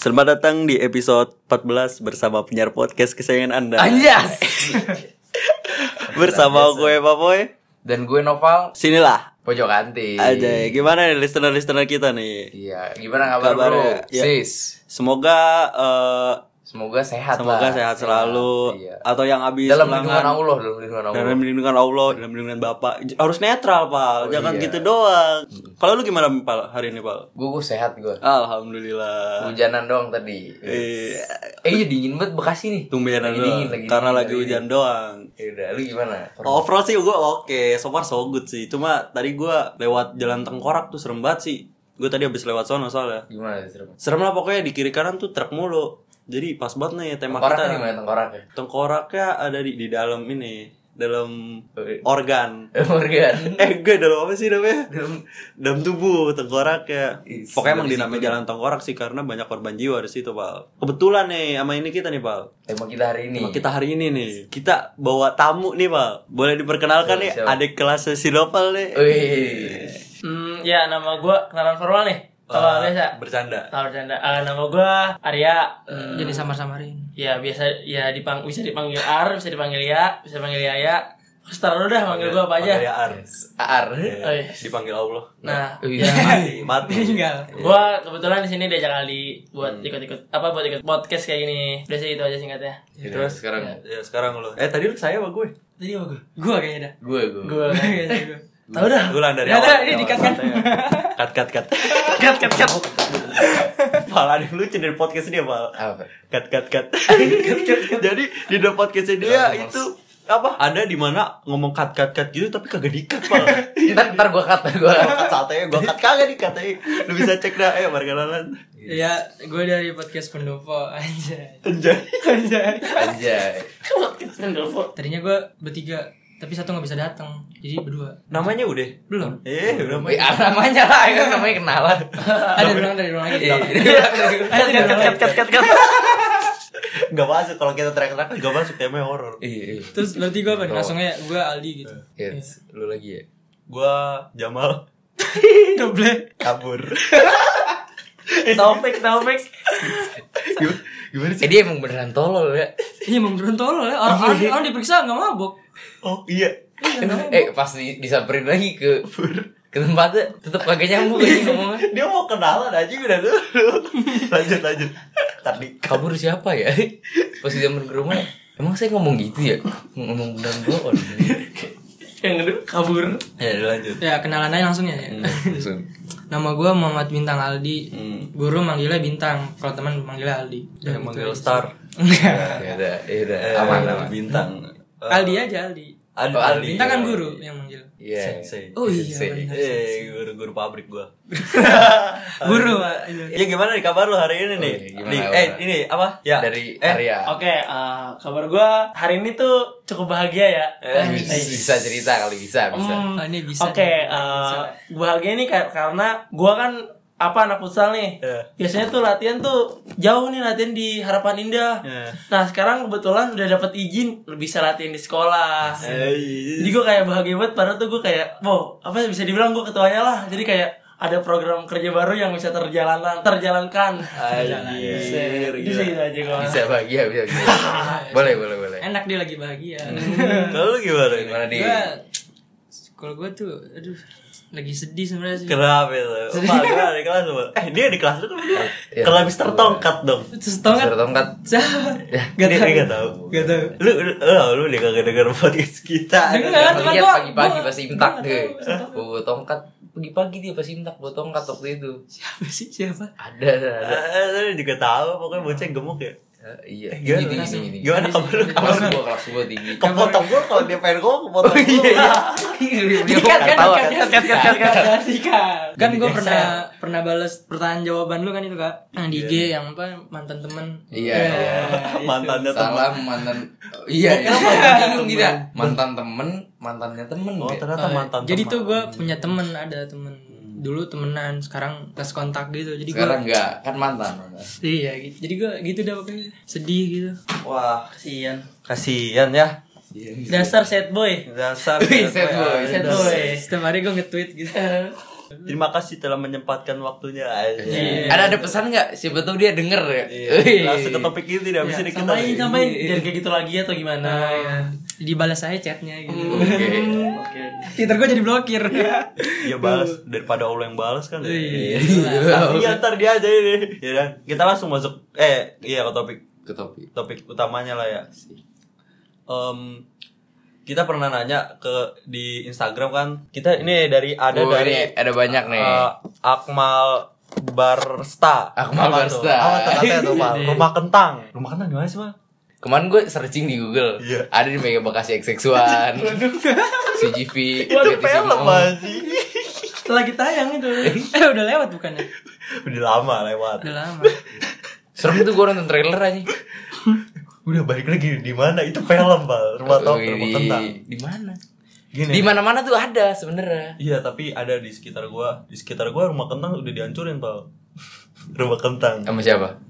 Selamat datang di episode 14 bersama penyiar podcast kesayangan Anda. Anjas. Bersama gue Papoy. Dan gue Noval Sinilah. pojok anti. Aja gimana nih listener-listener kita nih? Iya, gimana kabar bro? Kabarnya, ya. Sis. Semoga eh, Semoga sehat semoga lah. sehat selalu Iya. atau yang habis Dalam lindungan ulangan Allah, dalam lindungan Allah. dalam lindungan Allah, dalam lindungan Bapak. J- Harus netral, Oh, Pal. iya. Jangan gitu doang. Hmm. Kalau lu gimana, Pal? Hari ini, Pal? Gue gue sehat gue. Alhamdulillah. Hujanan doang tadi. Eh, Eh, iya dingin banget Bekasi nih. tumbenan Lagi doang. dingin, lagi Karena dingin lagi hari ini. hujan Oh. doang. Ya udah, lu gimana? Overall sih gue oke, so far so good sih. Cuma tadi gue lewat jalan tengkorak tuh serem banget sih. Gue tadi habis lewat sono soalnya. Gimana sih? Serem lah pokoknya di kiri kanan tuh truk mulu. Jadi pas banget nih tema Tengkorak kita. kan gimana tengkorak ya? Tengkoraknya ada di di dalam ini, dalam organ. Eh, Morgan. Eh gue dalam apa sih namanya? Dalam- Dalam tubuh tengkoraknya. Is, Pokoknya emang dari dinamai jalan tengkorak sih karena banyak korban jiwa di situ, Pal. Kebetulan nih sama ini kita nih, Pal. Tema kita hari ini. Tema kita hari ini nih, kita bawa tamu nih, Pak. Boleh diperkenalkan Siap, nih, siap. adik kelas Sinopal nih. Wih. Hmm, ya nama gue kenalan formal nih. Kalau biasa. Bercanda. Kalau bercanda. Ah, nama gue Arya. Jadi samar-samarin. Ya biasa. Ya dipang bisa dipanggil Ar, bisa dipanggil Ya, bisa dipanggil Yaya. Terus taruh udah manggil gue apa aja. Panggil Ya. Ar. Ya, Ar. Oh, iya. Dipanggil Allah. Nah, Oh, Wih. iya. Mati, mati. gue kebetulan di sini diajak Ali buat Hmm. ikut-ikut apa buat ikut podcast kayak gini. Udah sih itu aja singkatnya. Ya, Terus sekarang Iya. Ya, sekarang lo. Eh, tadi lu saya sama gue. Tadi mau gue. Gue kayaknya dah. gue gue. Gue. Tahu dah. Gue ulang Hmm. dari Ya, udah, ini awal. kan? dikat-kan. Kat, kat, kat. Cut cut cut. Pal, ada yang lucu dari podcast dia, Pal. Apa? Kat, kat, kat. Jadi, di dalam podcastnya dia Iya, Jelas, itu apa ada di mana ngomong kat kat kat gitu tapi kagak dikat pal Ntar ntar gue kata gue. Katanya gue kat kagak nih katanya Lu bisa cek dah Ayo perkenalan Ya, gue dari podcast pendopo aja. Anjay Anjay. Anjay. Podcast pendopo. Tadinya gue bertiga, tapi satu nggak bisa datang, jadi berdua. Namanya udah Belum. Eh udah Wih, ah, namanya lah, kan namanya kenalan. Ada orang dari ruang lagi. Ada dari ruang Cut cut lagi. cut cut cut. Gak masuk Kalau kita teriak-teriak kan Gak masuk temanya horor Iya, iya. Terus berarti gue apa? nih? Langsung ya, gue Aldi gitu. Yes, lu lagi ya. Gue Jamal Double. Kabur Taufik Taufik. Gimana, gimana sih? Eh dia emang beneran tolol ya. Iya, emang beneran tolol ya. Orang orang, orang diperiksa nggak mabok. Oh iya Iya, nggak mabok. Eh pas di, disamperin lagi ke ke tempatnya tetep kagak nyambung aja ngomongnya. Dia mau kenalan aja udah dulu Lanjut lanjut Tadi Kabur siapa ya? Pas disamperin ke rumah, emang saya ngomong gitu ya? Ngomong beneran bohong. Yang kedua kabur. Ya lanjut Ya, kenalan aja langsung ya. ya. Langsung. Nama gue Muhammad Bintang Aldi. Guru manggilnya Bintang, kalau teman manggilnya Aldi. Udah Yang gitu manggil aja. star Ya udah, ya udah. Eh, Aman aman. Bintang Eh, Aldi aja Aldi. Aldi, ya. Oh, Aldi. Bintang kan guru yang manggil. Iya. Sensei Oh iya, Sensei. benar. Eh guru-guru pabrik gue Guru, Pak. Iya. Ya gimana nih kabar lu hari ini nih? Oh, iya, gimana, Di- gimana? eh ini apa? Ya. Dari eh, area. Oke, eh, kabar gue hari ini tuh cukup bahagia ya. Eh, Bisa cerita kali bisa, bisa. Hmm, Ah, ini bisa Oke, nih. eh, bahagia nih kar- karena gua kan apa anak futsal nih. Iya. Biasanya tuh latihan tuh jauh nih latihan di Harapan Indah. Iya. Nah, sekarang kebetulan udah dapat izin bisa latihan di sekolah. Eh, Jadi gue kayak bahagia banget padahal tuh gue kayak, wow, apa bisa dibilang gue ketuanya lah. Jadi kayak ada program kerja baru yang bisa terjalanan, terjalankan. Anjir, Jadi gila. segitu aja gua. Bisa bahagia, bisa. bisa. Boleh, boleh, boleh. enak dia lagi bahagia Hmm. Kalau lu gimana nih? Gimana di? gue kalau gue tuh aduh lagi sedih sebenarnya sih Kenapa itu? Pak, gimana di kelas lu? Eh, dia di kelas lu kan dia? Iya. Kalau habis tertongkat dong. terus tau Surat nggak tongkat. siapa Dia dia Ya, nggak tahu. gak tau Lu lu lu- lu dia kagak denger podcast kita. Gua Dengar. Teman lihat gua- Iya, pagi-pagi gua- pas imtak gua deh. nggak tahu, nggak Bawa tongkat pagi-pagi dia pas imtak bawa tongkat waktu itu. siapa sih siapa Ada ada. ada. Eh, Lu juga tahu pokoknya bocah gemuk ya. Eh, Iya. gimana, Gini gimana? gini gini. Gimana kabar lu? Kelas gua kelas gua tinggi. Kepotong gua kalau dia pengen gua kepotong gua. Dia kok nggak tahu kan? kan gue pernah pernah balas pertanyaan jawaban lu kan itu kak nah, Iya. di IG yang apa mantan temen Eh, Iya. iya. Mantannya teman. Salam mantan. Iya. iya. Bingung kita. Mantan temen, mantannya temen. Oh, kayak. ternyata mantan. iya. jadi teman. tuh gue punya temen ada temen dulu temenan sekarang tas kontak gitu jadi gue Sekarang enggak kan mantan. mantan. iya gitu jadi gue gitu dah pokoknya sedih gitu wah, Kasian. kasihan ya. Dasar sad boy. Dasar. ya, Wih, set boy, Iya, Dasar. Sad boy. Iya. setiap hari gue nge-tweet gitu Terima kasih telah menyempatkan waktunya. Iya. Ada ada pesan nggak? Siapa tahu dia denger ya. Langsung ke topik inti nih abis ini kita. Sampaikan, sampaikan. Iya. Jangan kayak gitu lagi atau gimana. Eh, iya. Dibalas saya chatnya Hmm. gitu. Oke. Oke. Twitter gue jadi blokir. Iya. Ya balas daripada Allah yang balas kan. Iya. Iya. Iya ntar dia aja ini. Ya kan? Kita langsung masuk eh iya ke topik Ke topik. topik utamanya lah ya. Em, kita pernah nanya ke di Instagram kan. Kita ini dari ada Oh, dari ini ada banyak nih. eh, Akmal Barsta. Akmal Apa Barsta. Iya, tuh? Apa tuh katanya tuh, Mal? Rumah kentang. Rumah kentang gimana sih, Mal? Kemarin gue searching di Google. Iya. Ada di Mega Bekasi XX1. CGV. Itu Betty film Simo. masih. Lagi tayang itu. eh udah lewat bukannya? Udah lama lewat. Udah lama. Serem tuh gue nonton trailer aja. Udah balik lagi di mana? Itu film, Mal. Rumah top, rumah Di- kentang. Di mana? Gini. Di mana-mana tuh ada sebenarnya. Iya, tapi ada di sekitar gua. Di sekitar gua rumah kentang udah dihancurin, Pal. rumah kentang. Sama siapa?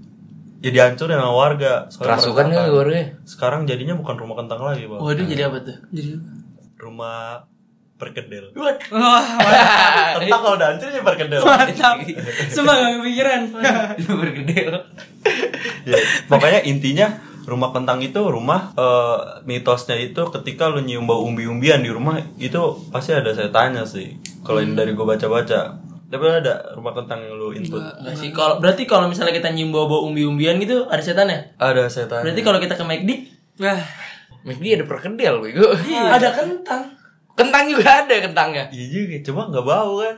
Ya dihancurin sama warga. Soalnya Kerasukan kan mereka- keluarga. Sekarang jadinya bukan rumah kentang lagi, Bang. Waduh jadi apa tuh? Jadi Rumah perkedel. Wah, Kentang kalau udah hancur ya perkedel. mantap. Semua gak kepikiran. Bergedel. ya, makanya intinya rumah kentang itu rumah eh, mitosnya itu ketika lu nyium bau umbi-umbian di rumah itu pasti ada setannya sih. Kalau ini dari gua baca-baca. Tapi lu ada rumah kentang yang lu input. Enggak sih. Kalau berarti kalau misalnya kita nyium bau-bau umbi-umbian gitu ada setan ya? Ada setan. Berarti kalau kita ke McD Wah, McD ada perkedel bego. ada kentang. Kentang juga ada kentangnya. Iya juga, cuma nggak bau kan.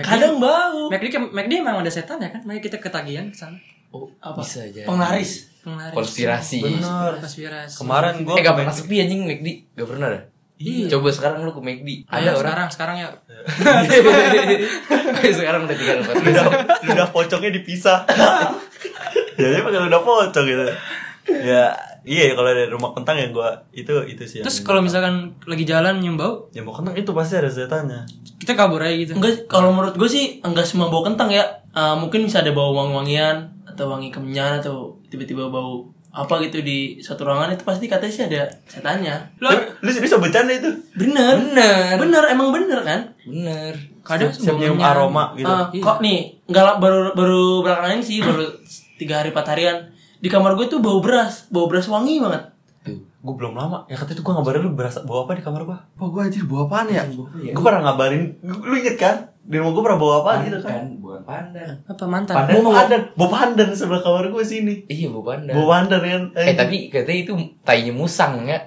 Kadang bau. McD, ke- McD emang ada setan ya kan? Mari kita ketagihan ke sana. Oh, bisa aja. Penglaris. Penglaris. Konspirasi. Benar. Konspirasi. Kemarin gua Iya, eh ke gak pernah Mac- sepi anjing McD. Gak pernah dah. Iya. Coba sekarang lu ke McD. Ada Ayo orang. sekarang, sekarang ya. sekarang udah tiga tempat. ludah, ludah pocongnya dipisah. Ya, Jadi pakai ludah pocong gitu. Ya, iya kalau dari rumah kentang yang gua itu itu sih. yang- Terus kalau misalkan lagi jalan nyium bau, Ya mau kentang itu pasti ada setannya. kita kabur aja gitu. Enggak kalau menurut gue sih enggak semua bau kentang ya. Eh, mungkin bisa ada bau wangi-wangian atau wangi kemenyan atau tiba-tiba bau apa gitu di satu ruangan itu pasti katanya sih ada setannya. Lu lu bisa bercanda itu. Bener. Bener. Bener emang bener kan? Bener. Kadang Siap nyium aroma gitu. Eh, kok nih nggak la- baru baru belakangan ini sih baru tiga hari empat harian di kamar gue tuh bau beras bau beras wangi banget Gue belum lama. Ya katanya tuh gue ngabarin lu berasa bawa apa di kamar gua. Wah gue anjir bawa apaan ya? Gue pernah ngabarin. Lu inget kan? Di rumah gue pernah bawa apaan gitu kan? buah pandan. apa mantan? Pandan, bawa pandan, bawa pandan sebelah kamar gue sini. Iya buah pandan. Bawa pandan kan? Eh, Eh tapi katanya itu tainya musang ya.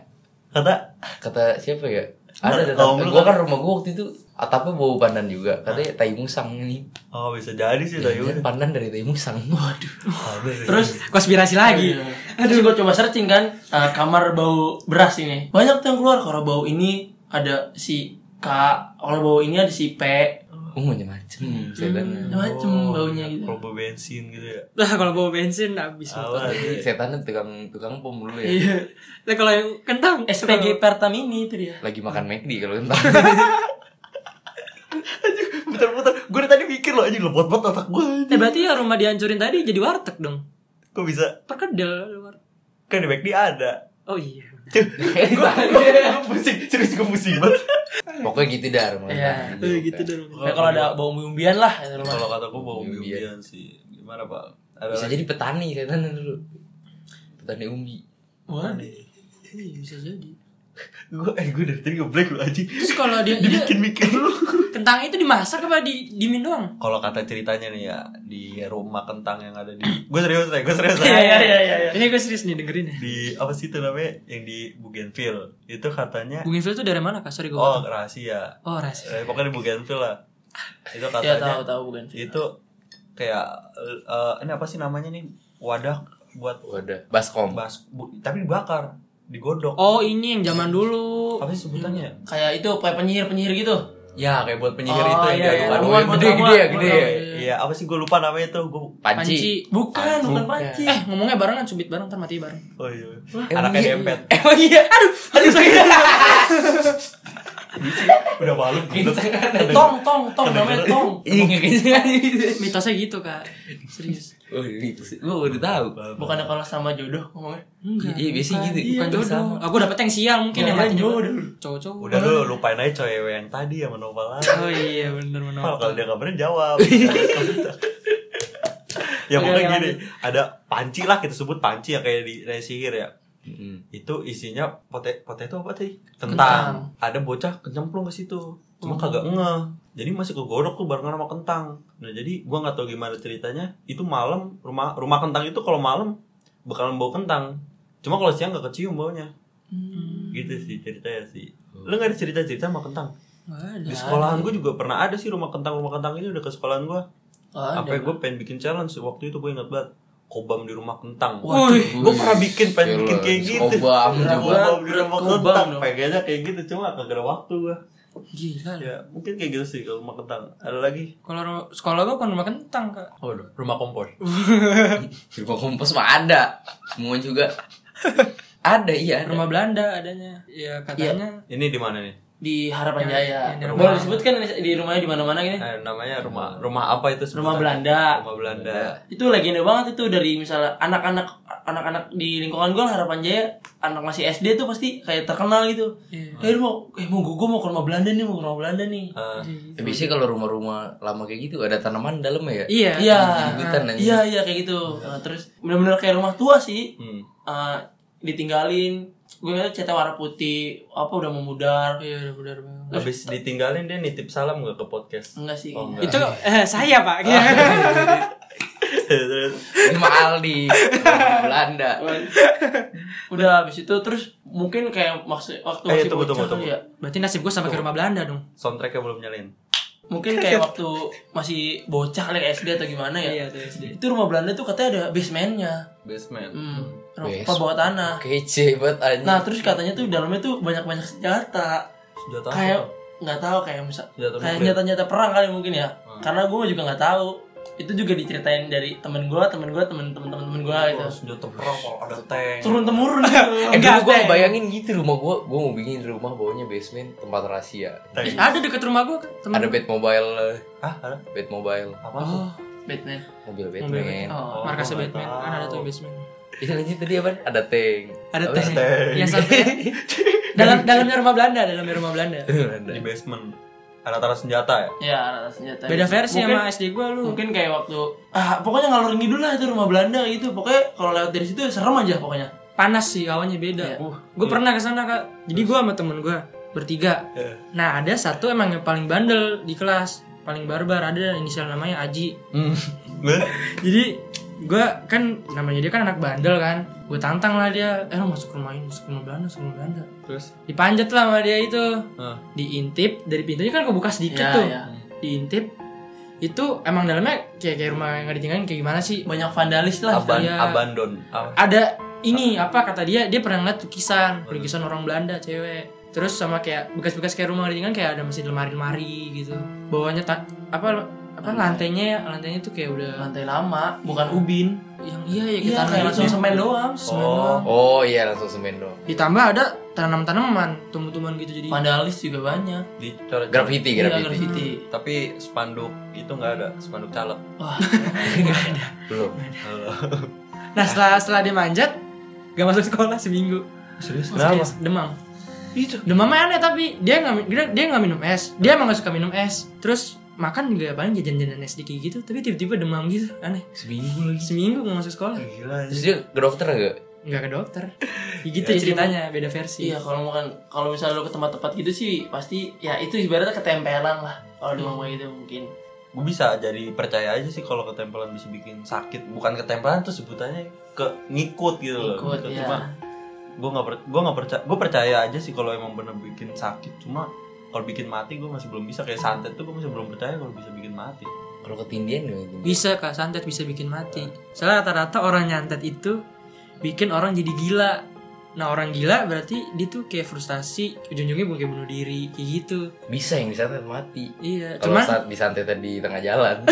kata Kata siapa ya? Ada Nggak, kalau tetap. lu Gua kan rumah gua waktu itu atapnya bau pandan juga. Katanya tai musang nih. oh bisa jadi sih tadi Jangan-jangan pandan dari tai musang. Waduh. terus Konspirasi lagi. Aduh, gue Iya. coba searching kan eh, kamar bau beras ini. Banyak tuh yang keluar kalau bau ini ada si K, kalau bau ini ada si P. Oh macam-macam setannya. Oh, Macam baunya gitu. Kalau bawa bensin gitu ya. Lah kalau bawa bensin habis. Awas. Jadi setannya tukang tukang pom dulu ya. Iya. Lah kalau yang kentang SPG Pertamini itu dia. Lagi makan McD kalau entar. Putar-putar. Gue tadi mikir loh anjing lepot-lepot otak gue. Eh berarti ya rumah dihancurin tadi jadi warteg dong. Kok bisa? Perkedel luar. Kan di McD ada. Oh iya. Cuh, gue pusing, serius gue pusing banget. Pokoknya gitu dah rumah Iya. tangga. Eh gitu dong. Ya, kalau ada bau umbi-umbian lah. ya, rumah. Kalau kata gue bawa umbi-umbian Umbi-umbian. sih. Gimana pak? Ada Bisa jadi petani setan dulu. Petani umbi. Waduh. Iya bisa jadi. gue eh gue dari tadi ngeblank lu aja Terus kalau dia, dia dibikin mikir Iya. lu kentang itu dimasak apa di dimin doang? kalau kata ceritanya nih ya di rumah kentang yang ada di gue serius nih gue serius Iya, nih iya, iya, iya, iya. Ini gue serius nih dengerin ya. di apa sih itu namanya yang di Bougainville itu katanya Bougainville itu dari mana kak? Sorry Iya, gue. oh rahasia Oh rahasia. eh, pokoknya di Bougainville lah itu Ya tahu katanya tahu bukan. itu kayak eh, ini apa sih namanya nih wadah buat Wadah. Baskom. bas bu- tapi dibakar digodok Oh ini yang zaman dulu. Oh, apa sih sebutannya ya? Kayak itu kayak penyihir-penyihir gitu. Ya kayak buat penyihir Oh, itu yang iya, iya. jagoan. Yang Ramuan, buat gede gede ramuan, ya gede. buat ya. ramuan. iya apa sih gue lupa namanya tuh gue Panci. Panci. Bukan, bukan panci. Eh ngomongnya bareng kan subit bareng ntar mati bareng. oh iya Eh, anaknya dempet Emang iya. Aduh. Aduh sakit. udah gitu. malu Eh, tong, tong, tong namanya tong. Iya kayak gitu. Mitosnya gitu kak. Serius. Oh gitu sih. Gue udah tahu. Bukannya kalau sama jodoh ngomongnya. Iya, iya biasanya gitu. Bukan jodoh. bersama. Aku dapet yang sial mungkin yang Kirain mati juga. jodoh. Cowok-cowok. Udah lu lupain aja cewek yang tadi sama Nova lagi. Oh iya bener bener. Kalau kalau dia kabarin jawab. ya Oke, pokoknya oke, gini, ada panci lah kita sebut panci ya kayak di Resi sihir ya. Mm. Itu isinya pote potato apa tadi? Kentang. Hmm. Kentang. Ada bocah kecemplung ke situ. Cuma kagak ngeh. Jadi masih kegorok tuh barengan sama kentang. Nah, jadi gua nggak tahu gimana ceritanya. Itu malam rumah rumah kentang itu kalau malam bakalan bau kentang. Cuma kalau siang nggak kecium baunya. Hmm. Gitu sih ceritanya sih. Lu nggak ada cerita-cerita sama kentang? Nggak ada. Di sekolahan gue juga pernah ada sih rumah kentang rumah kentang ini udah ke sekolahan gue. Ah, Apa gue pengen bikin challenge waktu itu gue ingat banget kobam di rumah kentang. Wah, Wih, gue pernah bikin pengen bikin kayak Challenge. gitu. Kobam, kobam di rumah kobam kentang. dong. Pengennya kayak gitu cuma kagak ada waktu gue. Gila. Ya mungkin kayak gitu sih kalau rumah kentang. Ada lagi? Kalau ru- sekolah gua kan rumah kentang kak. Oh, rumah kompor. Di rumah kompos mah ada. Semua juga. ada iya. Ada. Rumah Belanda adanya. Ya katanya. Ini di mana nih? Di Harapan Yang- Jaya. yang di rumah. Boleh disebutkan di rumahnya di mana-mana gini. Eh, namanya rumah rumah apa itu? Rumah sebutannya? Belanda. Rumah Belanda. Iya. Itu legenda banget itu dari misalnya anak-anak anak-anak di lingkungan gue Harapan Jaya anak masih SD tuh pasti kayak terkenal gitu. Iya. Eh lu mau eh mau gue, gue mau ke rumah Belanda nih, mau ke rumah Belanda nih. Eh, Ya, biasanya kalau rumah-rumah lama kayak gitu ada tanaman dalam ya. Iya. Iya. Jadi hutan aja. Iya, iya kayak gitu. Nah, terus benar-benar kayak rumah tua sih. hmm. Eh, ditinggalin gue ngeliat catnya warna putih apa udah memudar Iya udah bener banget. Habis ditinggalin dia nitip salam gak ke podcast? enggak sih Oh, enggak. Itu eh, saya pak. Oh. Terus Ini mah Aldi. Rumah Belanda. udah habis itu terus mungkin kayak maksud waktu Eh, masih tunggu, bocah tunggu, tunggu. ya Berarti nasib gua sampai ke rumah Belanda dong. soundtracknya belum nyalin. mungkin kayak waktu masih bocah kali SD atau gimana ya tuh SD. itu rumah Belanda tuh katanya ada basementnya Basement. hmm. Basement. apa bawah tanah Kece banget anjing. nah terus katanya tuh dalamnya tuh banyak banyak senjata Senjata apa? kayak nggak tahu kayak misal Senjata kayak nuklir. nyata-nyata perang kali mungkin ya Hmm. karena gue juga nggak tahu itu juga diceritain dari temen gue temen gue temen temen temen temen gue gitu Oh, senjata perang kalau ada tank. turun temurun gitu Eh, Enggak, dulu gue Teh. bayangin gitu rumah gue, gue mau bikin rumah bawahnya basement tempat rahasia. Tank. Ah. Ada dekat rumah gua Kak, teman. Ada Batmobile, eh, Hah, ada Batmobile, apa tuh? Batman mobil Mobil Batman. Batman. Oh, markas Oh, Batman. nggak Kan ada tuh tahu. basement. Ini Iya, lanjut tadi apa? Ada tank. Ada Apa? tank. tank. Yang Iya, sampai dalam dalamnya rumah Belanda, dalamnya rumah Belanda. Belanda. Di basement. Ada tara senjata ya? ya rata senjata Beda gitu. versi mungkin, sama SD gua lu. mungkin kayak waktu ah pokoknya ngalor ngidul lah itu rumah Belanda kayak gitu pokoknya kalau lewat dari situ ya serem aja pokoknya Panas sih awalnya beda. Iya. Uh, Gue pernah ke sana kak. Jadi gua sama temen gua bertiga. Eh. Nah ada satu emang yang paling bandel di kelas, paling barbar ada inisial namanya Aji. Hmm. Jadi gua kan namanya dia kan anak bandel kan. Gue tantang lah dia. Eh lu masuk rumah ini, masuk rumah Belanda, masuk rumah Belanda. Terus ah. Dipanjat lah sama dia itu. Hah. Diintip dari pintunya kan kebuka sedikit Ya, tuh. ya. Diintip itu emang dalamnya kayak kayak rumah yang nggak ditinggalin kayak gimana sih? banyak vandalis lah aban iya. abandon. Ah, Apa? ada ini apa kata dia dia pernah ngeliat lukisan lukisan orang Belanda cewek terus sama kayak bekas-bekas kayak rumah ringan kayak ada mesin lemari-lemari gitu bawahnya tak apa apa lantainya ya? lantainya tuh kayak udah lantai lama bukan ubin yang iya ya iya kayak langsung semen doang semen Oh. doang. Oh iya langsung semen dong. ditambah ada tanam-tanaman tumbuh-tumbuhan gitu jadi vandalis juga banyak Dicoret. Graffiti, Iya, graffiti. graffiti. Tapi spanduk itu nggak ada, spanduk caleg. wah Belum. nah setelah setelah dia manjat gak masuk sekolah seminggu Serius? Oh, Serius, demam Itu. demamnya aneh tapi dia nggak mi- dia, dia nggak minum es dia emang nggak suka minum es terus makan juga paling jajan-jajan es dikit gitu tapi tiba-tiba demam gitu aneh Seminggu lagi. seminggu nggak masuk sekolah Gila. Terus dia ke dokter nggak? nggak ke dokter Ya gitu ya, ceritanya beda versi iya kalau makan kalau misalnya lu ke tempat-tempat gitu sih pasti ya itu ibaratnya ketempelan lah kalau di rumah gue gitu mungkin Gue bisa jadi percaya aja sih kalau ketempelan bisa bikin sakit. Bukan ketempelan tuh sebutannya ke ngikut gitu loh. ikut Ngikut, ya Cuma gue nggak per- gua nggak percaya gue percaya aja sih kalau emang bener bikin sakit cuma kalau bikin mati gue masih belum bisa kayak santet tuh gue masih belum percaya kalau bisa bikin mati Kalau ketindian nggak? gitu? ketindian? bisa kak santet bisa bikin mati soalnya rata-rata orang nyantet itu bikin orang jadi gila nah orang gila berarti dia tuh kayak frustasi ujung-ujungnya bukan bunuh diri kayak gitu Bisa yang disantet mati. iya Kalau cuman saat disantet di tengah jalan,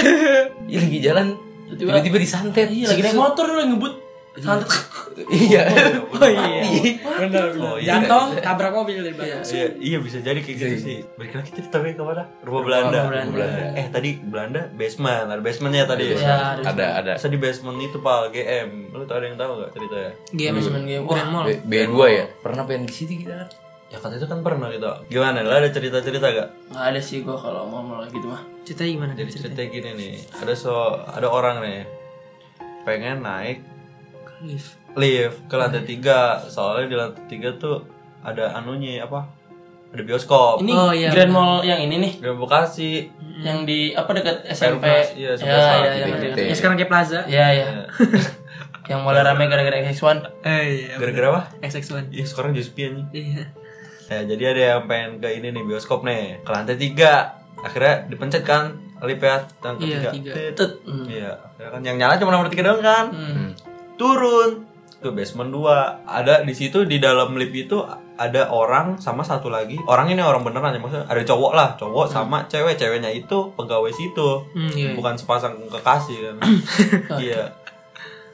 Iya lagi jalan tiba-tiba tiba-tiba disantet. Iya, iya lagi naik motor lu lagi ngebut santet Iya. Oh iya. Benar. Oh, iya. Jatuh tabrak mobil dari belakang. Iya, iya bisa jadi kayak gitu Iya. sih. Balik lagi kita tapi kemana? Rumah Belanda. Rumah Belanda. Eh tadi Belanda basement, ada basementnya tadi. Iya, Ya. ada. Ada ada Masa di basement itu pal GM. Lu tau ada yang tahu gak ceritanya? Game Hmm. Basement game. game. Wah. Grand Mall. B- B2 ya. Pernah pengen di situ kita kan? Ya kan itu kan pernah kita. Gimana? Lu ada cerita-cerita gak? nggak ada sih gua kalau mau mau gitu mah Ceritanya gimana? Jadi Ceritanya. cerita gini nih. Ada so ada orang nih pengen naik Lift. lift ke lantai tiga. Soalnya di lantai tiga tuh ada anunya apa? Ada bioskop. ini Oh, iya, Grand benar. Mall yang ini nih Grand Bekasi. Hmm. yang di apa dekat SMP Perumnas, iya, ya sebelah sana, ya yang gitu, dekat- gitu. Ya sekarang kayak Plaza. ya ya yang mulai rame gara-gara XX1 Eh, iya. Gara-gara apa? XX1. Iya sekarang Juspi anjing. Iya. Ya, jadi ada yang pengen ke ini nih bioskop nih ke lantai tiga akhirnya dipencet kan lift ya tangga tiga Iya, tiga. Tit. Tut. Hmm. iya akhirnya kan yang nyala cuma nomor tiga doang kan Hmm. turun ke basement dua ada di situ di dalam lift itu ada orang sama satu lagi orang ini orang beneran ya maksudnya ada cowok lah cowok sama cewek ceweknya itu pegawai situ Hmm, iya. bukan sepasang kekasih kan iya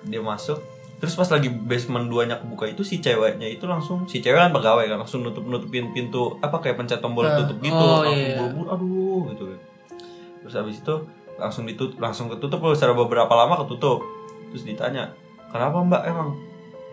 dia masuk terus pas lagi basement duanya kebuka itu si ceweknya itu langsung si cewek kan pegawai kan langsung nutup nutupin pintu apa kayak pencet tombol Ah, tutup gitu oh, langsung iya. buru-buru, aduh gitu terus abis itu langsung ditutup langsung ketutup loh secara beberapa lama ketutup terus ditanya kenapa mbak emang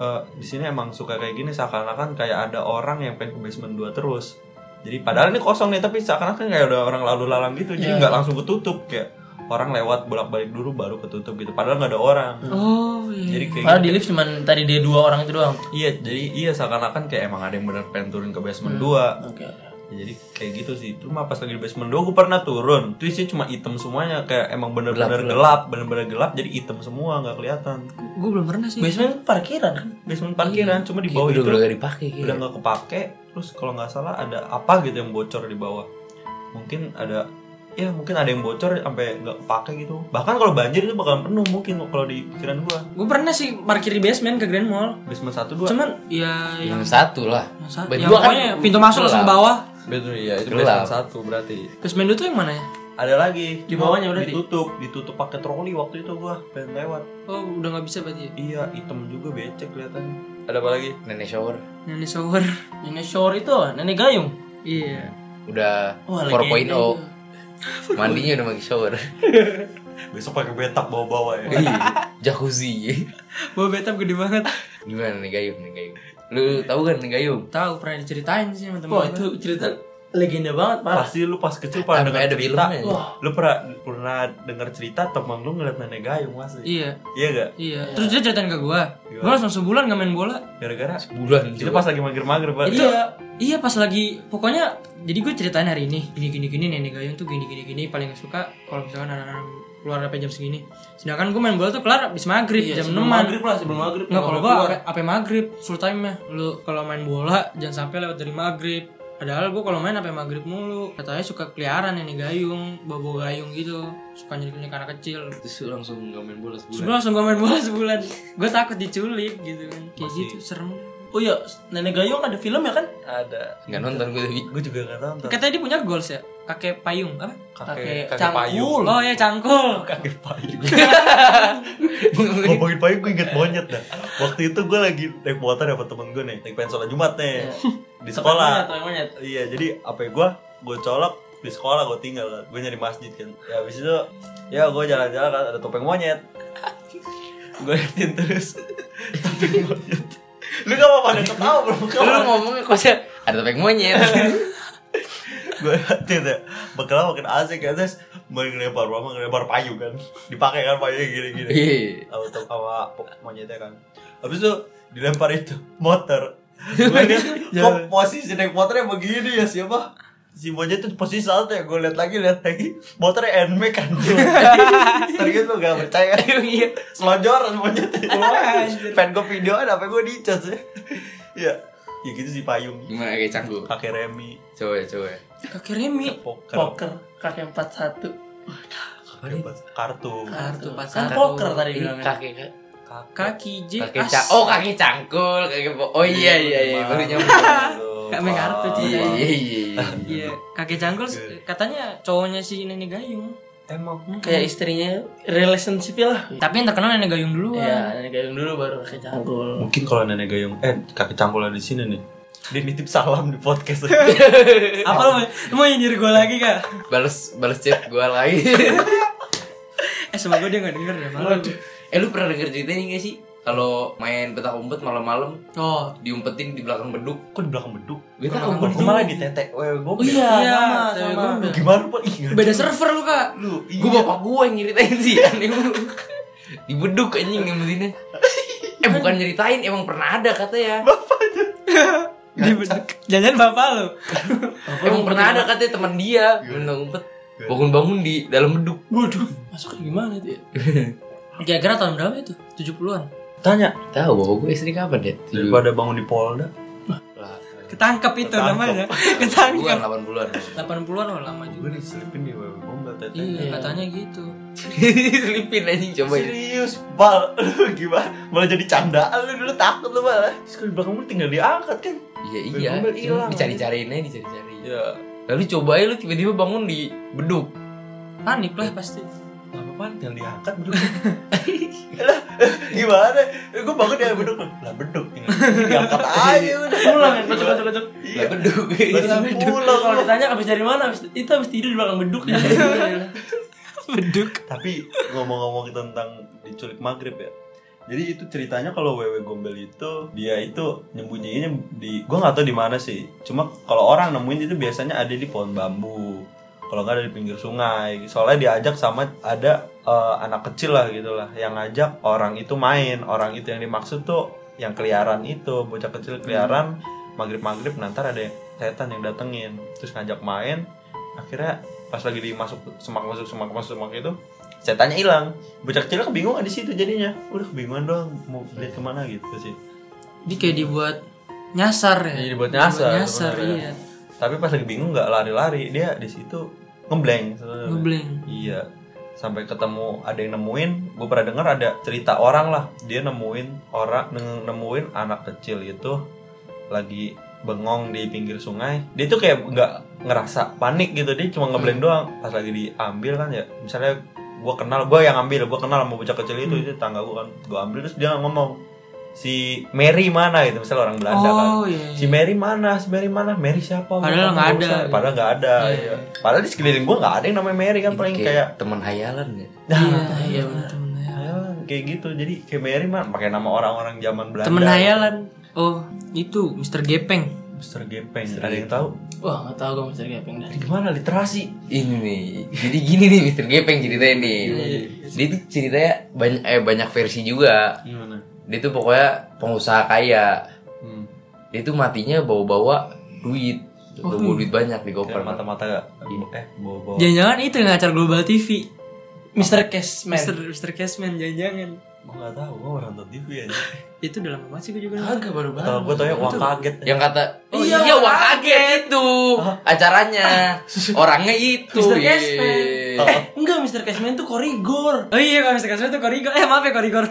eh, di sini emang suka kayak gini seakan-akan kayak ada orang yang pengen ke basement 2 terus jadi padahal ini kosong nih tapi seakan-akan kan kayak ada orang lalu lalang gitu jadi Iya. nggak langsung ketutup kayak orang lewat bolak-balik dulu baru ketutup gitu padahal nggak ada orang Oh, iya. jadi kayak Padahal gitu. di lift cuman tadi dia dua orang itu doang. iya jadi iya seakan-akan kayak emang ada yang bener pengen turun ke basement 2 Oke. jadi kayak gitu sih cuma pas lagi di basement 2 gue pernah turun itu isinya cuma item semuanya kayak emang bener-bener Gelap, gelap bener-bener gelap jadi item semua nggak kelihatan Gue belum pernah sih. Basement parkiran kan? basement parkiran cuma di Kayak bawah Iya, udah Oh, itu udah gak dipakai udah kayaknya. nggak kepake terus kalau nggak salah ada apa gitu yang bocor di bawah mungkin ada ya mungkin ada yang bocor sampai nggak kepake gitu bahkan kalau banjir itu bakalan penuh mungkin kalau di pikiran gua Gue pernah sih parkir di basement ke Grand Mall. basement satu dua Cuman Iya, ya yang Yang satu lah. yang sa- Bagi yang gua kan pokoknya pintu masuk langsung ke gelap. bawah. betul ya itu Gelap. basement satu berarti Basement itu yang mana ya? ada lagi Di bawahnya udah di- ditutup ditutup pakai troli waktu itu gua pengen lewat Oh, udah nggak bisa berarti. ya? iya hitam juga becek kelihatannya ada apa lagi Nenek shower. Nenek shower. Nenek Shore itu, apa? nenek gayung. Iya. Udah Wah, 4.0. legenda Mandinya udah pakai shower. besok pakai betak bawa bawa ya Iya. Jacuzzi. Bawa betap gede banget. Gimana nih gayung nih gayung? Lu tahu kan nih gayung? Tahu pernah diceritain sih sama temen Wah, gua. Oh, itu cerita legenda banget, Pak. pasti lu pas kecil pernah Sampai dengar ada cerita filmnya. lu pernah pernah dengar cerita teman lu ngeliat nenek gayung masih Iya. iya gak Iya. Terus dia ceritain ke gua. Gua langsung sebulan gak main bola. gara-gara Bulan itu pas lagi mager-mager banget Iya. Iya pas lagi pokoknya jadi gue ceritain hari ini gini gini gini nenek gayung tuh gini gini gini paling gak suka kalau misalkan anak-anak keluar sampai jam segini. Sedangkan gue main bola tuh kelar abis maghrib Iya, jam 6 sebelum maghrib lah, sebelum maghrib. Nggak, kalau Nggak gua keluar. apa, apa maghrib full time ya. Lu kalau main bola jangan sampai lewat dari maghrib. Padahal gua kalau main apa maghrib mulu. Katanya suka keliaran ini gayung, bawa gayung gitu. Suka nyulik-nyulik anak kecil. Terus lu langsung gak main bola sebulan. Sebelum langsung gua main bola sebulan. Gua takut diculik gitu kan. Kayak gitu serem. Oh iya, nenek gayung ada film ya kan? ada Gak nonton gue tapi gue juga gak nonton Katanya dia punya goals ya. Kakek payung apa? Kakek kakek cangkul. Oh ya cangkul. kakek payung ngomongin payung gue inget monyet dah waktu itu gue lagi naik motor sama temen gue nih naik pengen sholat jumat nih di sekolah Monyet, monyet. Iya, jadi apa ya, gua gue colok di sekolah gue tinggal kan. Gue nyari masjid kan. Ya habis itu ya gue jalan-jalan kan ada topeng monyet. gue liatin terus topeng monyet. Lu gak apa-apa ada ketawa bro Lu ngomongnya kosnya ada topeng monyet. Gue liatin ya Bakal makin asik kan Terus Makin ngelempar Mama ngelempar payu kan Dipakai kan payunya gini-gini Iya. atau sama monyetnya kan habis itu dilempar itu motor gue lihat kok posisi naik motornya begini ya siapa si monyet itu posisi salto ya gue lihat lagi lihat lagi motornya NMAX kan serius lu gak percaya Iya. selonjoran monyetnya pengen gue videoan apa gue dicas ya ya ya gitu si payung Gimana kayak cangkul? pakai remi Coba ya, coba. ya. Kakek Remi. poker, Poker kakek 41. kartu Kartu pas Kan kartu. poker tadi Ih, bilangnya. kakek kak- Kaki J. kakek As. cang oh kakek cangkul kakek po- oh iya iya iya baru nyambung nyambung Gak main kartu, Ci. iya iya iya Iya, kakek cangkul s- katanya cowoknya si nenek gayung. Emang. Hmm. kayak istrinya relationship lah Tapi yang terkenal nenek gayung dulu ya nenek gayung dulu baru kakek cangkul Mungkin kalau nenek gayung, eh kakek cangkul ada di sini nih. Dia nitip salam di podcast. apa lo mau- lo mau nyindir gue lagi kak Balas balas chat gua lagi. Eh semoga dia gak denger ya malu. eh lu pernah denger cerita ini gak sih? Kalau main petak umpet malam-malam Oh diumpetin di belakang beduk. Kok di belakang beduk? nah, Gue Belakang tahu Kok beduk. gue malah ditetek wewe gue. Iya, cewek sama gombel. Gimana pak? Ih, nggak Beda server lu kak Lu, iya. Gue bapak gue yang nyeritain sih aneh lu. Di beduk anjing ngumpetinnya. Iya. Eh bukan nyeritain emang pernah ada katanya. Di Jangan bapak lu emang pernah ada katanya teman dia Iya. menang umpet. Bangun-bangun di dalam beduk. waduh masuknya gimana itu ya Kira-kira tahun berapa itu? 70an Tanya Tahu bahwa gue istri kapan deh? daripada bangun di Polda. Ketangkep itu Ketangkep. namanya Gue Ketangkep 80-an. 80an oh lama Gue juga diselipin di wewe gombel tetek. Iya katanya gitu Selipin anjing coba ya. Serius, Bal, lu gimana? Malah jadi candaan lu dulu takut lu ya. malah. Terus kalau di belakang lu tinggal diangkat kan? Iya Biar iya. gombel Cuma hilang. dicari-cariin aja dicari-cari. Ya, Lalu coba ya lu tiba-tiba bangun di beduk. Panik lah pasti apa tinggal diangkat beduk. lah, gimana? Gue bangun dari beduk. Lah beduk tinggal diangkat aja udah. pulang ya, kan kocok kocok kocok Iya. Lah beduk. Langsung pulang kalau lu. ditanya abis dari mana abis itu abis tidur di belakang beduk ya Iya. Beduk Tapi ngomong-ngomong tentang diculik maghrib ya. Jadi itu ceritanya kalau wewe gombel itu dia itu nyembunyiinnya di gua nggak tahu di mana sih. Cuma kalau orang nemuin itu biasanya ada di pohon bambu. Kalau nggak ada di pinggir sungai. Soalnya diajak sama ada eh, anak kecil lah gitu lah yang ngajak orang itu main. Orang itu yang dimaksud tuh yang keliaran itu, bocah kecil keliaran maghrib-maghrib nanti ada yang setan yang datengin terus ngajak main akhirnya pas lagi dimasuk semak masuk semak masuk semak itu setannya hilang bocah kecil kebingungan di situ jadinya udah kebingungan doang mau lihat kemana gitu sih Ini kayak dibuat nyasar ya Iya, dibuat nyasar, nyasar sebenarnya. iya tapi pas lagi bingung nggak lari-lari dia di situ ngebleng sebenarnya. Ngeblank iya sampai ketemu ada yang nemuin gue pernah dengar ada cerita orang lah dia nemuin orang neng- nemuin anak kecil itu lagi bengong di pinggir sungai dia tuh kayak nggak ngerasa panik gitu dia cuma ngebleng doang pas lagi diambil kan ya misalnya gue kenal gue yang ambil gue kenal sama bocah kecil itu itu tangga gue kan gue ambil terus dia ngomong si Mary mana gitu misalnya orang Belanda kan Oh iya si Mary mana si Mary mana Mary siapa Padahal Gua nggak tahu, ada. saya. padahal nggak ada Iya. iya. padahal di sekeliling gua nggak ada yang namanya Mary kan paling kayak teman hayalan ya. nah, Iya iya, iya bener. temen hayalan, kayak gitu jadi kayak Mary mana pakai nama orang-orang zaman Belanda Temen hayalan Oh itu Mr. Gepeng Mister Gepeng ada yang tahu wah nggak tahu gue masih gepeng dah gimana literasi Ini nih. Jadi gini nih Mr. Gepeng ceritanya nih. Dia tuh ceritanya banyak eh banyak versi juga. gimana Dia tuh pokoknya pengusaha kaya. hmm. Dia tuh matinya bawa-bawa duit. Bawa Oh, duit banyak di Kayak koper. mata-mata gak? eh Oh. bawa-bawa Jangan-jangan itu yang acara Global TV Mr. Cashman Mr. Mr. Cashman jangan-jangan gua nggak tahu gua nggak nonton TV aja Itu udah lama banget sih gue juga agak baru baru atau gua tau ya wah kaget Yang kata Oh, iya, iya, wah kaget itu acaranya. Orangnya itu. Mr. Iya. Cashman. eh enggak Mr. Cashman tuh korigor Oh iya kalau Mr. Cashman tuh korigor Eh maaf ya korigor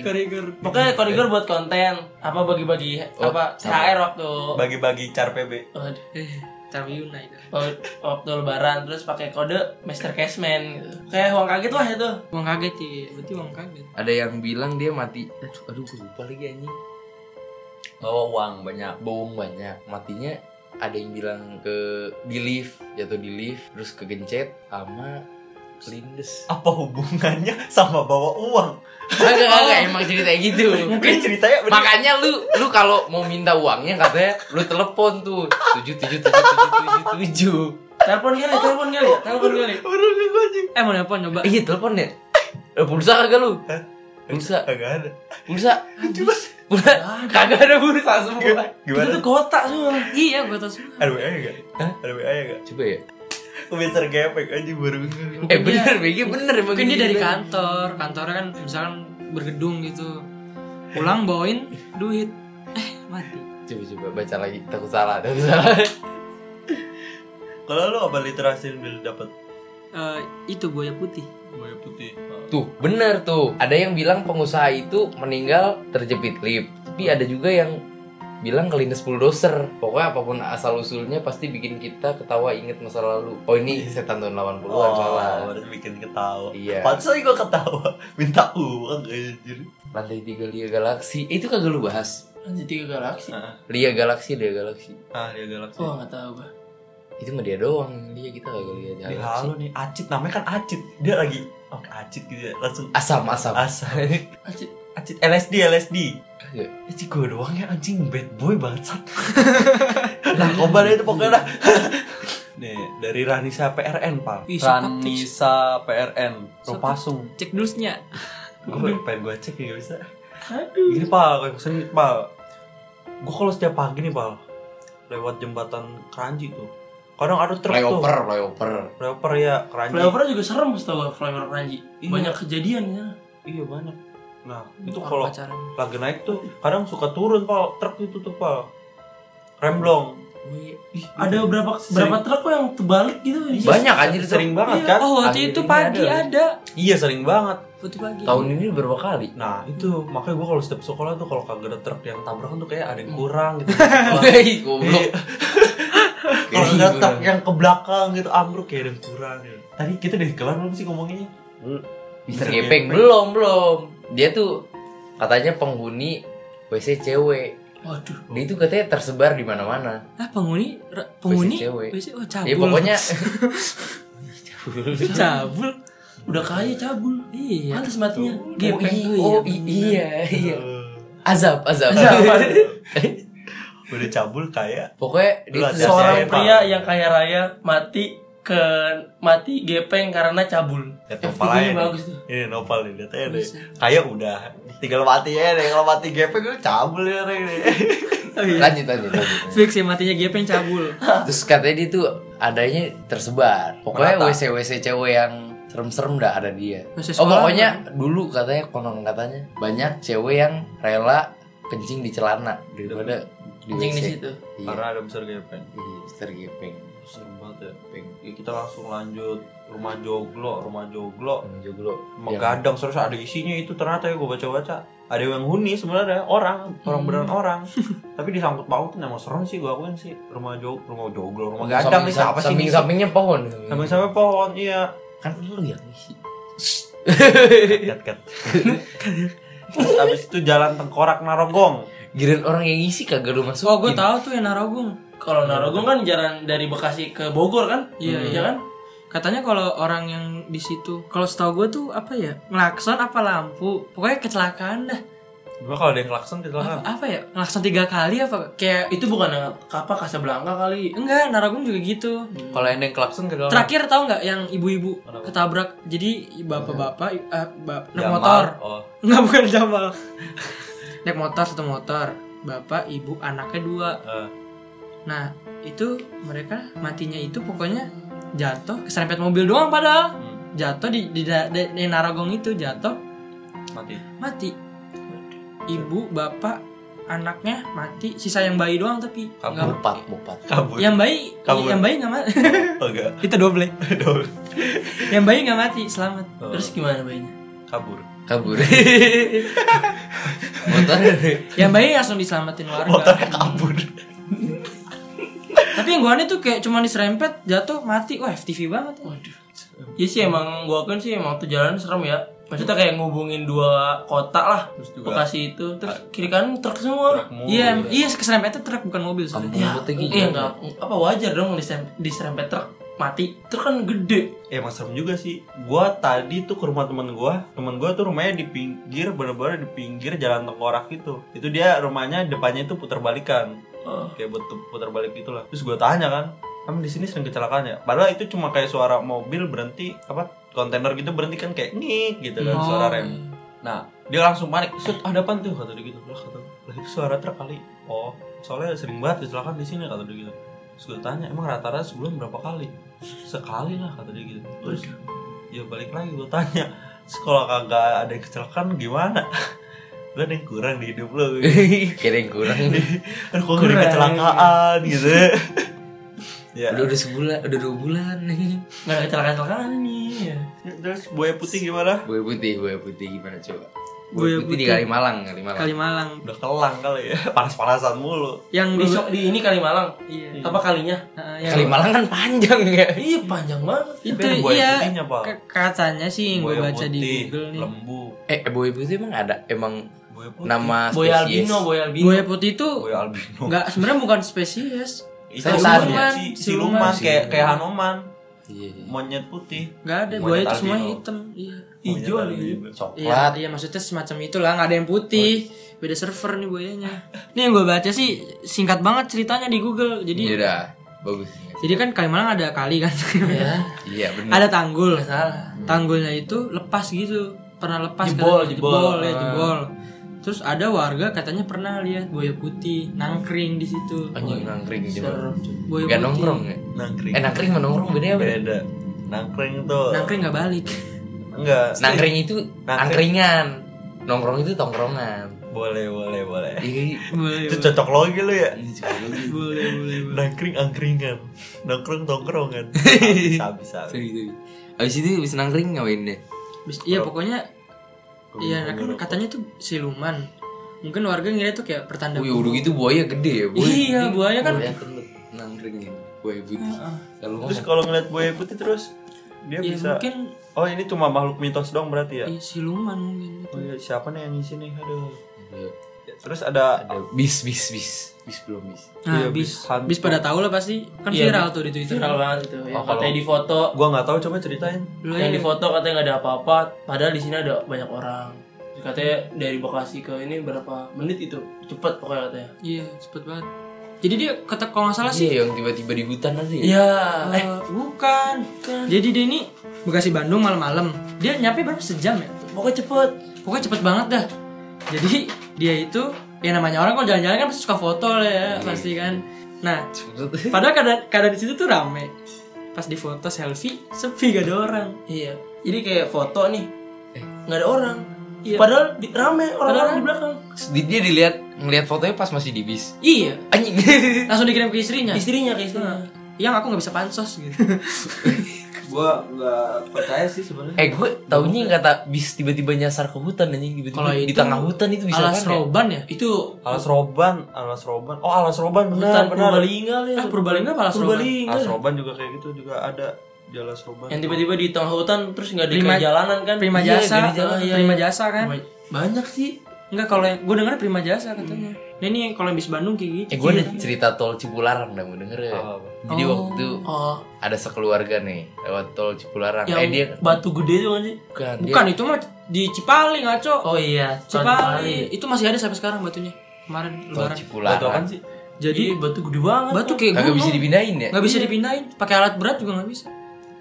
Korigor pokoknya korigor buat konten apa bagi-bagi apa THR waktu bagi-bagi car PB Waduh. Eh Tapi Unai Waktu- waktu lebaran terus pakai kode Mr. Cashman gitu. kayak uang kaget lah itu Uang kaget ya Berarti uang kaget Ada yang bilang dia mati. Aduh, aduh gue lupa lagi anjing. bawa uang banyak bohong banyak matinya ada yang bilang ke di lift jatuh di lift terus kegencet sama kelindes apa hubungannya sama bawa uang agak agak Oh. emang ceritanya gitu mungkin ceritanya bener makanya lu lu kalau mau minta uangnya katanya lu telepon tuh tujuh tujuh tujuh tujuh tujuh tujuh telepon kali telepon kali telepon kali bener gua anjing Eh mau nelfon coba Eh, iya telepon ya Eh, pulsa kagak lu Hah? Eh. pulsa kagak ada pulsa pulsa kagak ada pulsa semua itu gimana tuh kotak semua Iya gue tau semua ada WA gak? Hah? Ada WA gak? coba ya Gue biasa gepek aja baru eh bener Begi bener emang Mungkin dia dari kan? gitu. kantor Kantornya kan misalkan bergedung gitu Pulang bawain duit Eh mati coba coba baca lagi takut salah takut salah Kalau lu apa literasi yang udah dapet? Eh, Itu buaya putih Buaya putih Tuh, bener tuh. Ada yang bilang pengusaha itu meninggal terjepit lift. Tapi ada juga yang bilang kelindes bulldozer pokoknya apapun asal usulnya pasti bikin kita ketawa inget masa lalu oh ini setan tahun 80-an salah baru Oh, bikin ketawa. Oh. Iya. Pantesan gue ketawa, minta uang anjir. lantai tiga Lia Galaksi Eh, itu kagak lu bahas Lanjut tiga galaksi. Ah, Lia Galaksi Lia Galaksi ah dia galak sih. Wah nggak tahu gua. itu mah dia doang dia kita kagak Lia Dia Galaksi halu nih, acit namanya kan acit. Dia lagi oh, acit gitu ya, langsung asam asam asal. Lanjut. acit LSD LSD. Kagak. Itu gue doang ya anjing bad boy bangsat. Narkoba deh itu pokoknya dah. Nih, dari Ranisa PRN, Pak. Ih, sokap tuh. Ranisa PRN Ropasung Cek dusnya. Gue pengen gue cek ya gak bisa. Aduh. Gini pal, kayak sering pal. Gue kalau setiap pagi nih pal, lewat jembatan Keranji tuh. Kadang ada truk flyover tuh. flyover Flyover ya Keranji. Flyover juga serem setahu gua flyover Ranji. Iya. Banyak kejadian ya. Iya banyak. Nah itu Orang kalau pacaran. lagi naik tuh, kadang suka turun pal truk itu tuh pal. Remblong. Ih, Ada berapa berapa truk kok yang terbalik gitu di Iya, Banyak anjir itu. sering banget Iya. kan? Oh, Akhirnya waktu itu ini pagi ada. ada. Iya sering banget. Waktu pagi. tahun ini berapa kali Nah itu makanya gue kalau setiap sekolah tuh kalau kagak ada truk yang tabrakan tuh kayak ada yang kurang gitu. Hei, goblok. Iya. Kalau nggak tak yang ke belakang gitu ambruk ya dan kurang ya. Tadi kita dari kelar belum sih ngomonginnya? Mister Gepeng belum belum. Dia tuh katanya penghuni WC cewek. Waduh. Dia itu katanya tersebar di mana-mana. Ah, penghuni ra- penghuni. WC cewek. WC, oh, cabul. Ya pokoknya cabul. Udah kaya cabul. Iya. Pantas matinya. Oh, Gepeng i- tuh, iya, oh, i- bener. iya iya. Eh, Azab azab. Udah cabul kayak pokoknya dia Lu tuh ada seorang siapa? pria. Pria yang kaya raya mati ke mati gepeng karena cabul. lihat nopal aja. FTV-nya nih. bagus tuh. Ini nopal nih lihat aja deh. Bisa. Kayak udah tinggal mati ya deh. Kalau mati gepeng gue cabul ya deh. Oh, iya. Lanjut lanjut lanjut. Fix ya matinya Gepeng cabul. Terus katanya dia tuh adanya tersebar. Pokoknya Merata. WC WC cewek yang serem-serem dah ada dia. WC Oh sekolah, pokoknya dulu katanya konon katanya banyak cewek yang rela kencing di celana daripada di Anjing WC. di situ. Iya. Karena ada besar gepeng. Iya, Mister Gepeng. Serem banget ya. Ya, kita langsung lanjut rumah joglo, rumah joglo. Emang joglo. Megadang terus ada isinya itu ternyata ya gue baca-baca. Ada yang huni sebenarnya orang, orang beneran orang. Tapi disangkut pautin emang serem sih gue akuin sih. Rumah jog, rumah joglo, rumah Yang gadang nih siapa sih? samping ngisi? sampingnya pohon. Sampai sampai pohon iya. kan lu yang ngisi. Kat kat. Terus abis itu jalan tengkorak Narogong. Giliran orang yang ngisi kagak lu masuk. Iya. Oh, gue tahu tuh yang Narogong. Kalau Narogong kan jalan dari Bekasi ke Bogor kan? Iya, Hmm. iya. iya kan? Katanya kalau orang yang di situ, kalau setahu gue tuh apa ya, ngelakson apa lampu, pokoknya kecelakaan dah. Gua kalau ada yang klakson kita Apa, kan. apa ya, ngelakson tiga kali apa? Kayak Itu bukan yang apa Oh. Casablanca kali. enggak, Narogong juga gitu. Kalau yang yang klakson ke dalam Terakhir tahu nggak yang ibu-ibu Kenapa? ketabrak, jadi bapak-bapak Iya. eh, bap- naik Jamal. motor, Oh. nggak bukan Jamal, naik motor satu motor, bapak, ibu, anaknya dua. eh, Nah itu mereka matinya itu pokoknya jatuh keserempet mobil doang padahal hmm, jatuh di di, da- di, di Narogong itu jatuh mati. mati ibu bapak anaknya mati sisa yang bayi doang tapi nggak- Kabur. Bopat, bopat. Kabur. yang bayi Kabur. yang bayi nggak mati Oh, enggak. itu doble Aduh. yang bayi nggak mati selamat Oh, Terus gimana bayinya? kabur. Kabur. Motor. yang bayi langsung diselamatin warga Motornya kabur. tapi yang gua aneh tuh kayak cuma diserempet jatuh mati wah FTV banget Waduh. Iya sih emang gua akuin sih emang tuh jalan serem ya. Maksudnya kayak ngubungin dua kota lah. Terus juga. Bekasi itu terus kiri kanan truk semua. truk mulu. iya iya keserempetnya truk bukan mobil soalnya Kampung Ya, putih gitu. iya enggak apa wajar dong diserempet, diserempet truk mati. Truk kan gede. Eh, emang serem juga sih. Gua tadi tuh ke rumah temen gua. Temen gua tuh rumahnya di pinggir, bener-bener di pinggir jalan tengkorak gitu. Itu dia rumahnya depannya itu putar balikan. Oh. kayak buat putar balik gitulah terus gue tanya kan kamu di sini sering kecelakaan ya padahal itu cuma kayak suara mobil berhenti apa kontainer gitu berhenti kan kayak ngik gitu kan Oh. suara rem nah dia langsung panik set ada apa tuh kata dia gitu lah kata gua, lah itu suara truk kali oh soalnya sering banget kecelakaan di sini kata dia gitu terus gue tanya emang rata-rata sebulan berapa kali sekali lah kata dia gitu terus ya balik lagi gue tanya "Terus kalau kagak ada yang kecelakaan gimana lu ada yang kurang di hidup lo Kira yang kurang. Aduh kok ada kecelakaan gitu ya Udah udah sebulan, udah dua bulan. Enggak ada kecelakaan-kecelakaan nih. terus buaya putih gimana Gue putih, gue putih gimana coba? Buya Bukti di Putih. Kalimalang, Kalimalang. Kalimalang Udah kelang kali ya. Panas-panasan mulu. yang Di, dulu so- di ini kali Malang. iya Apa kalinya? Heeh, yang- Kalimalang kan panjang ya. Iya panjang banget. itu Tapi ada buaya iya putihnya, Pak. ke- katanya sih yang gue Buaya baca di putih, Google nih Lembu. Eh, Boy Putih emang ada emang Oh, Buaya putih. nama Boy spesies. albino, boy albino. buaya putih itu Buaya Oh, ya, albino. nggak sebenarnya bukan spesies Itu Setan. siluman, si, Siluman. siluman kayak kayak Hanoman, Iya, iya. monyet putih. nggak ada Monyet buaya itu albino. semua hitam iya Hijau Monyet lagi. albino. Iya, Coklat. iya maksudnya semacam itulah nggak ada yang putih beda server nih buayanya nih yang gue baca sih singkat banget ceritanya di Google Iya jadi udah. Bagus. jadi kan Kalimalang ada kali kan Ya, Iya, benar. ada tanggul salah. tanggulnya itu lepas gitu pernah lepas Jebol, katanya. jebol. ya Ah. jebol terus ada warga katanya pernah lihat buaya putih nangkring di situ Anjing nangkring di Serem. buaya Gak putih. nongkrong ya? Nangkring. Eh nangkring sama nongkrong beda ya beda. Beda. Nangkring tuh. nangkring nggak balik Enggak. Nangkring itu Nangkring. angkringan. Nongkrong itu tongkrongan. Boleh, boleh, boleh. Iya. boleh Itu cocok lagi lu ya. boleh boleh boleh. Nangkring angkringan. Nongkrong tongkrongan. Habis habis. Abis itu abis nangkring ngapain deh? Bis- iya Kalau- pokoknya iya nangkring katanya tuh siluman mungkin warga ngira itu kayak pertanda Oh, iya. Wih udah gitu buaya gede ya buaya. Iya, gede. buaya kan- Buaya kan nangkringin buaya putih. Kalau Terus kalau ngeliat buaya putih terus dia ya bisa mungkin Oh, ini cuma makhluk mitos dong berarti ya? iya, siluman mungkin Oh, iya. siapa nih yang ngisi nih? Aduh. Iya. Ya, Terus ada ada bis bis bis bis belum bis. nah Iya, bis bis hantu. bis pada tahu lah pasti kan Iya, viral bis- tuh di twitter Viral banget itu. Ya, Oh, kalau- katanya di foto, gua nggak tahu coba ceritain. Lu yang ini- di foto katanya nggak ada apa-apa, padahal di sini ada banyak orang. Terus katanya dari Bekasi ke ini berapa menit itu? Cepet pokoknya katanya. Iya, cepet banget. Jadi dia kata kalau nggak salah sih. Iya yang tiba-tiba di hutan nanti. ya? Iya. Eh, eh, bukan. Jadi dia ini Bekasi Bandung malam-malam. Dia nyampe berapa sejam ya? pokoknya cepet. Pokoknya cepet banget dah. Jadi dia itu ya namanya orang kalau jalan-jalan kan pasti suka foto Iya, lah ya, pasti kan. Nah, padahal keadaan, keadaan di situ tuh rame. Pas di foto selfie, sepi gak ada orang. Iya. Jadi kayak foto nih, nggak ada orang. Iya. Padahal di, rame orang-orang Padahal- di belakang. Terus di- Dia dilihat ngelihat fotonya pas masih di bis. Iya, Anjing. langsung dikirim ke istrinya. Istrinya kayak istrinya. Yang aku nggak bisa pansos gitu. Gua nggak percaya sih sebenarnya. eh gue taunya yang kata bis tiba-tiba nyasar ke hutan anjing tiba-tiba Kalau di itu tengah hutan itu bisa Alas kan ya? roban ya? Itu Alas roban, alas roban. Oh, alas roban benar, hutan benar. Purbalingga lah. Ah, Purbalingga apa alas roban? Purbalingga. Alas roban juga kayak gitu juga ada di alas roban. Yang tiba-tiba di tengah hutan terus nggak ada Prima- kayak jalanan kan? Prima Iya, jasa, gak ada jalan, iya, prima iya. jasa kan? Prima- Banyak sih. Enggak kalau yang gue dengar prima jasa katanya. Hmm. Nah, ini kalau yang bis Bandung kayak gitu. Eh gue ada Iya. cerita tol Cipularang dah mau denger ya. Jadi waktu itu Oh, ada sekeluarga nih lewat tol Cipularang. yang Eh dia batu gede itu kan sih? bukan, dia- Bukan itu mah di Cipali ngaco. Oh iya, Cipali. Itu masih ada sampai sekarang batunya. Kemarin tol Oh, Batu lebaran. Cipularang. apaan sih? Jadi Jadi batu gede banget. batu kayak Kagak gunung. bisa dipindahin ya? Nggak bisa dipindahin. Pakai alat berat juga nggak bisa.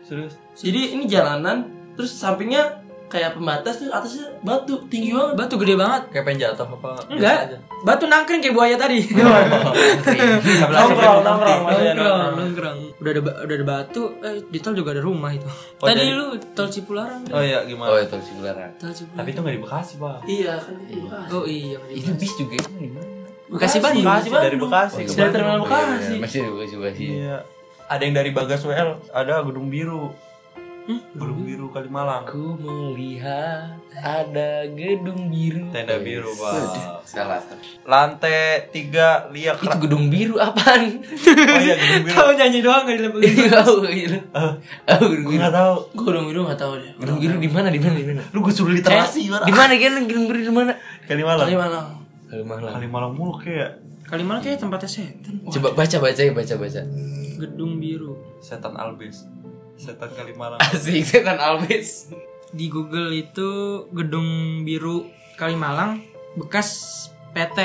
Serius? Jadi ini jalanan, terus sampingnya kayak pembatas terus atasnya batu tinggi banget. Batu gede banget. Kayak pengen jatuh apa? Enggak. Batu nangkring kayak buaya tadi. Nongkrong, nongkrong. nongkrong, nongkrong. Udah ada ba- udah ada batu, eh di tol juga ada rumah itu. Oh, Tadi jadi- lu tol Cipularang. Oh iya, Oh gimana? ya tol Cipularang. Tol Cipularang. Tapi itu nggak di Bekasi, Pak. Iya kan itu Bekasi. Oh iya, kan Itu bis juga emang di mana? Bekasi Bandung. Bekasi, dari Bandung. Bekasi. ke Dari Dari Bandung. terminal Bekasi. Iya, Masih di Bekasi Bekasi. Iya. Ada yang dari Bagas WL, ada Gedung Biru. Gedung Biru Kalimalang. Aku melihat ada gedung biru. Tenda biru, Pak. Waduh, Salah. Lantai 3 Liak. Itu gedung biru apaan? Oh iya, Gedung Biru. Tahu nyanyi doang gak dilempar. Tahu gitu. Tahu gedung Gue biru. nggak tahu. Gue udah udah nggak tahu deh. Gedung biru di mana? Di mana? Di mana? Lu gue suruh literasi gimana? Di mana kan gedung biru di mana? Tadi Eh? Kalimalang. malam. Kalimalang. Kalimalang mulu kayak Kalimalang kayak tempatnya setan. Coba baca baca ya baca baca. Gedung biru. setan Albis. Setan Kalimalang. Asik kan setan Albis. Di Google itu gedung biru Kalimalang bekas PT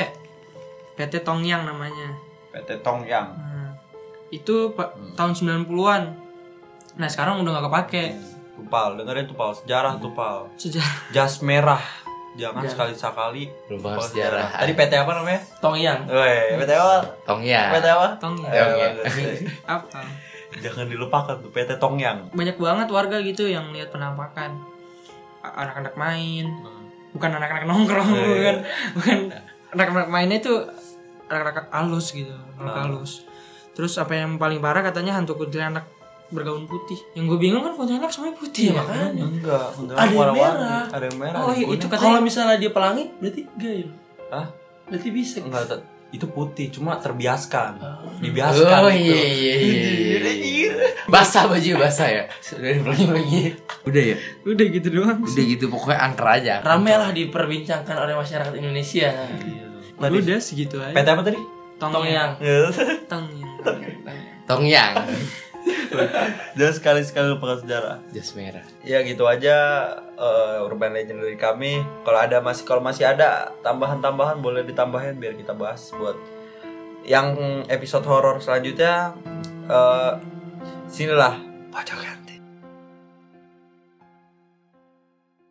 PT Tongyang namanya. PT Tongyang. Nah, itu pa- Hmm. tahun 90-an. Nah, sekarang udah nggak kepake. Hmm. Tupal, dengerin Tupal. Sejarah Tupal. Sejarah Jas merah. Jangan sekali-sekali Lupa lupa sejarah. Tadi PT apa namanya? Tongyang. Weh, PT apa? PT Tongya. apa? Tongyang. Tongyang. Eh, Apa? Jangan dilupakan tuh PT Tongyang. Banyak banget warga gitu yang lihat penampakan. A- Anak-anak main, bukan anak-anak nongkrong Hmm. Iya, iya. bukan bukan anak-anak mainnya itu Hmm. anak-anak halus gitu anak halus terus apa yang paling parah katanya hantu kuntilanak bergaun putih yang gue bingung kan kuntilanak semuanya putih Iya ya, kan makanya. Enggak, enggak. Ada yang warna-warni. merah. Ada yang merah. Oh, ada yang itu kuning. katanya- Kalau misalnya dia pelangi berarti gayo. Hah? Berarti bisa. enggak te- itu putih, cuma terbiaskan. Ah. Dibiaskan gitu. oh itu. iya iya iya, iya, iya. Basah baju basah ya. Sudah lagi lagi. Udah ya. udah gitu doang Udah gitu pokoknya angker aja. Rame lah diperbincangkan oleh masyarakat Indonesia. Tadi, udah segitu aja PT apa tadi? tongyang Tongyang. tongyang Tongyang. Jangan sekali-sekali lupakan sejarah. Jas merah. Ya gitu aja eh, urban legend dari kami. Kalau ada masih kalau masih ada tambahan-tambahan boleh ditambahin biar kita bahas buat yang episode horor selanjutnya eh sinilah pajakan.